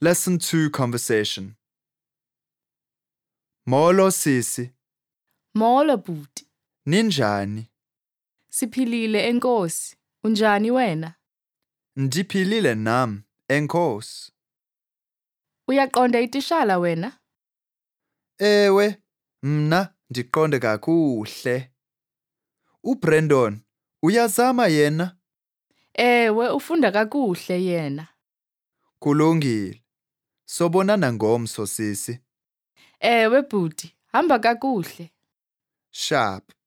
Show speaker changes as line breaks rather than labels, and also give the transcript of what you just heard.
Lesson 2 Conversation. Molo sisi,
Molo bhuti.
ninjani?
Siphilile enkosi. Unjani wena?
Ndiphilile nam, enkosi.
Uyaqonda itishala wena?
Ewe, mna ndiqonde kakuhle. UBrandon uyazama yena?
Ewe, ufunda kakuhle yena.
Kulungile. Sobonana ngomso sisi.
Ewe bhuti, hamba kakuhle.
Sharp.